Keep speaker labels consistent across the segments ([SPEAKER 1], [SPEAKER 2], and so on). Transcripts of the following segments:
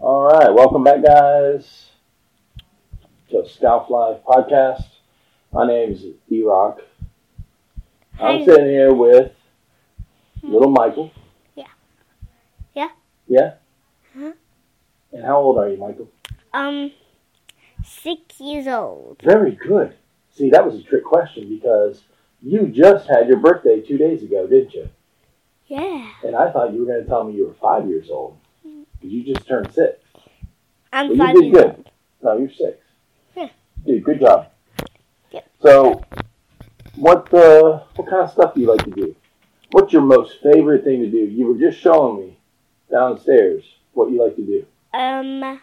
[SPEAKER 1] All right, welcome back, guys, to Scout Live podcast. My name is D Rock. I'm
[SPEAKER 2] Hi.
[SPEAKER 1] sitting here with little Michael.
[SPEAKER 2] Hmm. Yeah. Yeah? Uh-huh.
[SPEAKER 1] Yeah.
[SPEAKER 2] Huh?
[SPEAKER 1] And how old are you, Michael?
[SPEAKER 2] Um, six years old.
[SPEAKER 1] Very good. See, that was a trick question because you just had your birthday two days ago, didn't you?
[SPEAKER 2] Yeah.
[SPEAKER 1] And I thought you were going to tell me you were five years old.
[SPEAKER 2] Hmm.
[SPEAKER 1] You just turned six.
[SPEAKER 2] I'm
[SPEAKER 1] Well,
[SPEAKER 2] five
[SPEAKER 1] you did
[SPEAKER 2] years
[SPEAKER 1] good.
[SPEAKER 2] old.
[SPEAKER 1] No, you're six.
[SPEAKER 2] Yeah.
[SPEAKER 1] Dude, good job.
[SPEAKER 2] Yep.
[SPEAKER 1] So, what uh, what kind of stuff do you like to do? What's your most favorite thing to do? You were just showing me downstairs what you like to do.
[SPEAKER 2] Um,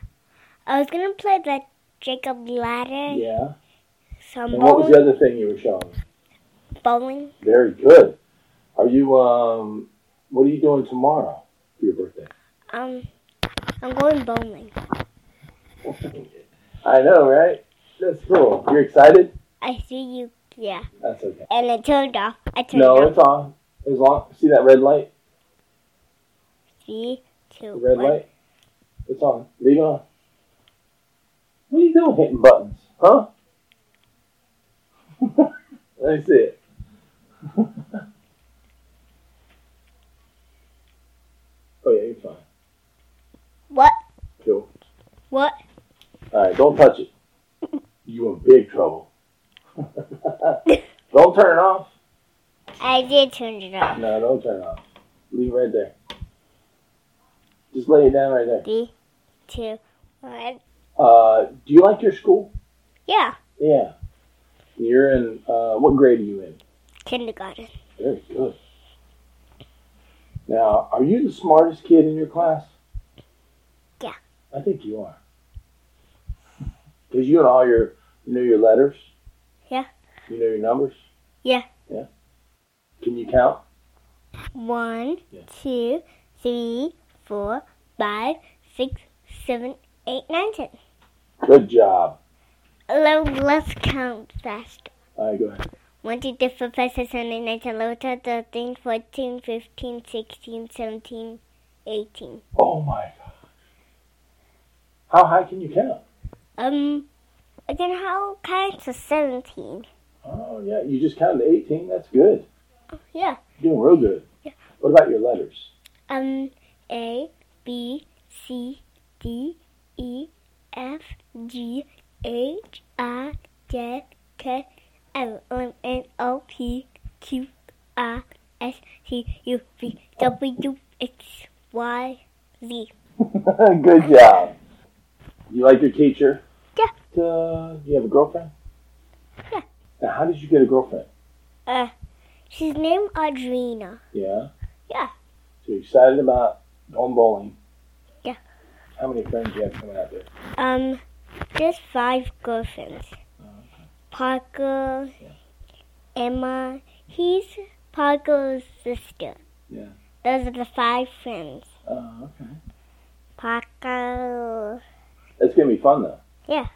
[SPEAKER 2] I was gonna play the Jacob ladder.
[SPEAKER 1] Yeah.
[SPEAKER 2] Some
[SPEAKER 1] And what was
[SPEAKER 2] bowling.
[SPEAKER 1] the other thing you were showing me?
[SPEAKER 2] bowling.
[SPEAKER 1] Very good. Are you um? What are you doing tomorrow for your birthday?
[SPEAKER 2] Um, I'm going bowling.
[SPEAKER 1] I know, right? That's cool. You're excited?
[SPEAKER 2] I see you. Yeah.
[SPEAKER 1] That's okay.
[SPEAKER 2] And it turned off. I turned
[SPEAKER 1] No,
[SPEAKER 2] off.
[SPEAKER 1] it's on. As long see that red light,
[SPEAKER 2] Three, two,
[SPEAKER 1] the red
[SPEAKER 2] one.
[SPEAKER 1] light. It's on. Leave it on. What are you doing hitting buttons? Huh? Let me see it. oh Oh, yeah, you're fine.
[SPEAKER 2] What?
[SPEAKER 1] Cool.
[SPEAKER 2] What?
[SPEAKER 1] Alright, don't touch it. You in big trouble. don't turn it off.
[SPEAKER 2] I did turn it off.
[SPEAKER 1] No, don't turn it off. Leave it right there. Just lay it down right there.
[SPEAKER 2] Three, two, one.
[SPEAKER 1] Uh, do you like your school?
[SPEAKER 2] Yeah.
[SPEAKER 1] Yeah. You're in, uh, what grade are you in?
[SPEAKER 2] Kindergarten.
[SPEAKER 1] Very good. Now, are you the smartest kid in your class?
[SPEAKER 2] Yeah.
[SPEAKER 1] I think you are. Because you and all your, you know your letters?
[SPEAKER 2] Yeah.
[SPEAKER 1] You know your numbers?
[SPEAKER 2] Yeah.
[SPEAKER 1] Yeah. Can you count?
[SPEAKER 2] One,
[SPEAKER 1] Yeah.
[SPEAKER 2] two, three, four, five, six, seven, eight, nine, ten.
[SPEAKER 1] Good job.
[SPEAKER 2] Hello, let's count fast.
[SPEAKER 1] All right, go ahead.
[SPEAKER 2] 1, 2, 3, 4, 5, 6, 7, 8, 9, 10, 11, 12, 13, 14, 15, 16, 17, 18.
[SPEAKER 1] Oh my god. How high can you count?
[SPEAKER 2] Um, again, how counts to 17?
[SPEAKER 1] Oh yeah, you just counted to 18. That's good.
[SPEAKER 2] Yeah.
[SPEAKER 1] You're doing real good.
[SPEAKER 2] Yeah.
[SPEAKER 1] What about your letters?
[SPEAKER 2] Um, A, B, C, D, E, F, G, H, I, J, K, L, M, N, O, P, Q, R, S, T, U, V, W, X, Y, Z.
[SPEAKER 1] good job. You like your teacher?
[SPEAKER 2] Yeah.
[SPEAKER 1] Uh, you have a girlfriend?
[SPEAKER 2] Yeah.
[SPEAKER 1] Now, how did you get a girlfriend?
[SPEAKER 2] She's named Audrina.
[SPEAKER 1] Yeah.
[SPEAKER 2] Yeah.
[SPEAKER 1] So you're excited about going bowling?
[SPEAKER 2] Yeah.
[SPEAKER 1] How many friends do you have coming out there?
[SPEAKER 2] Um, there's five girlfriends. Parker, Emma, he's Parker's sister.
[SPEAKER 1] Yeah.
[SPEAKER 2] Those are the five friends.
[SPEAKER 1] Oh, okay.
[SPEAKER 2] Parker,
[SPEAKER 1] That's gonna be fun though.
[SPEAKER 2] Yeah.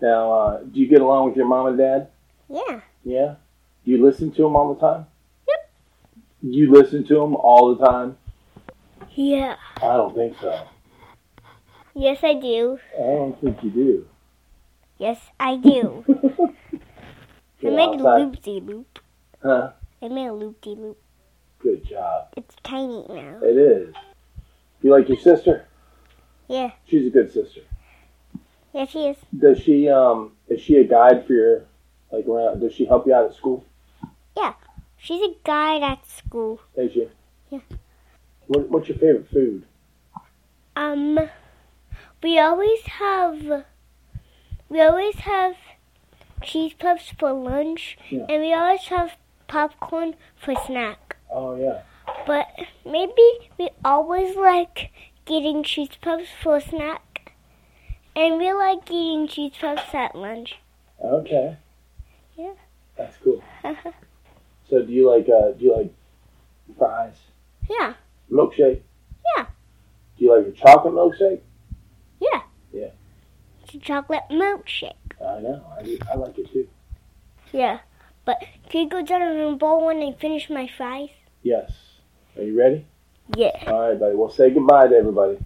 [SPEAKER 1] Now, uh, do you get along with your mom and dad?
[SPEAKER 2] yeah,
[SPEAKER 1] Yeah. Do you listen to them all the time?
[SPEAKER 2] Yep.
[SPEAKER 1] You listen to them all the time?
[SPEAKER 2] yeah.
[SPEAKER 1] I don't think so.
[SPEAKER 2] Yes, I do.
[SPEAKER 1] I don't think you do.
[SPEAKER 2] Yes, I do. I
[SPEAKER 1] Get
[SPEAKER 2] made a
[SPEAKER 1] outside.
[SPEAKER 2] loop de loop.
[SPEAKER 1] Huh?
[SPEAKER 2] I made a loop de loop.
[SPEAKER 1] Good job.
[SPEAKER 2] It's tiny now.
[SPEAKER 1] It is. You like your sister?
[SPEAKER 2] Yeah.
[SPEAKER 1] She's a good sister.
[SPEAKER 2] Yes, she is.
[SPEAKER 1] Does she um is she a guide for your like around does she help you out at school?
[SPEAKER 2] She's a guide at school.
[SPEAKER 1] Is she?
[SPEAKER 2] Yeah.
[SPEAKER 1] What, what's your favorite food?
[SPEAKER 2] Um, we always have we always have cheese puffs for lunch,
[SPEAKER 1] Yeah.
[SPEAKER 2] and we always have popcorn for snack.
[SPEAKER 1] Oh yeah.
[SPEAKER 2] But maybe we always like getting cheese puffs for snack, and we like eating cheese puffs at lunch.
[SPEAKER 1] Okay.
[SPEAKER 2] Yeah. Uh-huh.
[SPEAKER 1] That's cool. So do you like uh do you like fries?
[SPEAKER 2] yeah,
[SPEAKER 1] Milkshake?
[SPEAKER 2] Yeah.
[SPEAKER 1] Do you like your chocolate milkshake?
[SPEAKER 2] it's a chocolate milkshake.
[SPEAKER 1] I know. I, do- I like it too.
[SPEAKER 2] Yeah, but can you go down and bowl one and finish my fries?
[SPEAKER 1] Yes. Are you ready?
[SPEAKER 2] Yeah.
[SPEAKER 1] All right, buddy. Well, say goodbye to everybody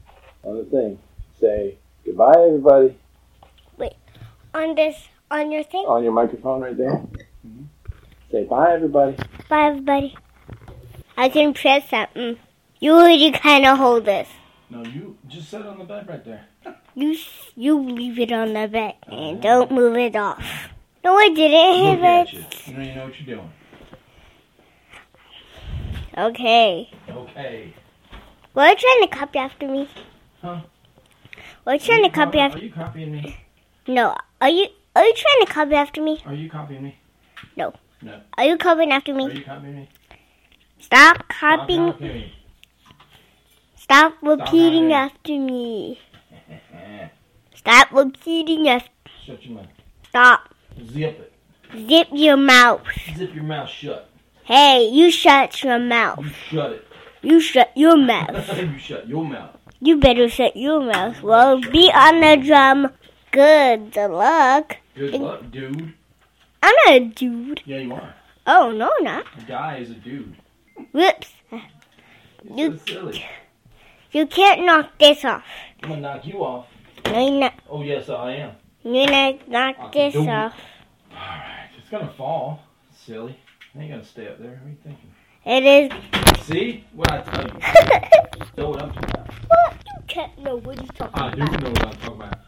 [SPEAKER 1] on the thing.
[SPEAKER 3] say goodbye, everybody,
[SPEAKER 2] On this, on your thing.
[SPEAKER 3] on your microphone right there.
[SPEAKER 1] Mm-hmm.
[SPEAKER 3] Say bye, everybody.
[SPEAKER 2] Bye, everybody. I can press something. You already kind of hold this.
[SPEAKER 1] No, you just sit on the bed right there.
[SPEAKER 2] You s- you leave it on the bed and don't move it off. No, I didn't
[SPEAKER 1] Look
[SPEAKER 2] have
[SPEAKER 1] at
[SPEAKER 2] it.
[SPEAKER 1] you. You don't even know what you're doing.
[SPEAKER 2] Okay.
[SPEAKER 1] Okay.
[SPEAKER 2] Were you trying to copy after me?
[SPEAKER 1] Huh?
[SPEAKER 2] Were you trying to copy
[SPEAKER 1] Are
[SPEAKER 2] after?
[SPEAKER 1] you copying me?
[SPEAKER 2] No. Are you are you trying to copy after me?
[SPEAKER 1] Are you copying me?
[SPEAKER 2] Are you copying after
[SPEAKER 1] Are
[SPEAKER 2] me?
[SPEAKER 1] you copying me?
[SPEAKER 2] Stop
[SPEAKER 1] Stop
[SPEAKER 2] copying.
[SPEAKER 1] copying me.
[SPEAKER 2] Stop repeating
[SPEAKER 1] copying.
[SPEAKER 2] after me. Stop repeating after.
[SPEAKER 1] Shut your mouth.
[SPEAKER 2] Stop.
[SPEAKER 1] Zip it.
[SPEAKER 2] Zip your mouth.
[SPEAKER 1] Zip your mouth shut.
[SPEAKER 2] Hey, you shut your mouth.
[SPEAKER 1] You shut it.
[SPEAKER 2] You shut your mouth.
[SPEAKER 1] you shut your mouth.
[SPEAKER 2] You better shut your mouth. Well, be on the drum. Good luck.
[SPEAKER 1] Good luck, dude.
[SPEAKER 2] I'm not a dude.
[SPEAKER 1] Yeah, you are.
[SPEAKER 2] Oh, no, I'm not.
[SPEAKER 1] A guy is a dude.
[SPEAKER 2] Whoops.
[SPEAKER 1] It's
[SPEAKER 2] You-
[SPEAKER 1] so silly.
[SPEAKER 2] You can't knock this off.
[SPEAKER 1] I'm gonna knock you off.
[SPEAKER 2] No, you're not.
[SPEAKER 1] Oh yes, I am.
[SPEAKER 2] You're not knock this
[SPEAKER 1] Don't-
[SPEAKER 2] off.
[SPEAKER 1] All right, it's gonna fall. Silly. I ain't gonna stay up there. What are you thinking?
[SPEAKER 2] It is.
[SPEAKER 1] See what I tell you. Know what I'm talking about.
[SPEAKER 2] what? You can't know what you're talking
[SPEAKER 1] Ah, I do know what I'm talking about.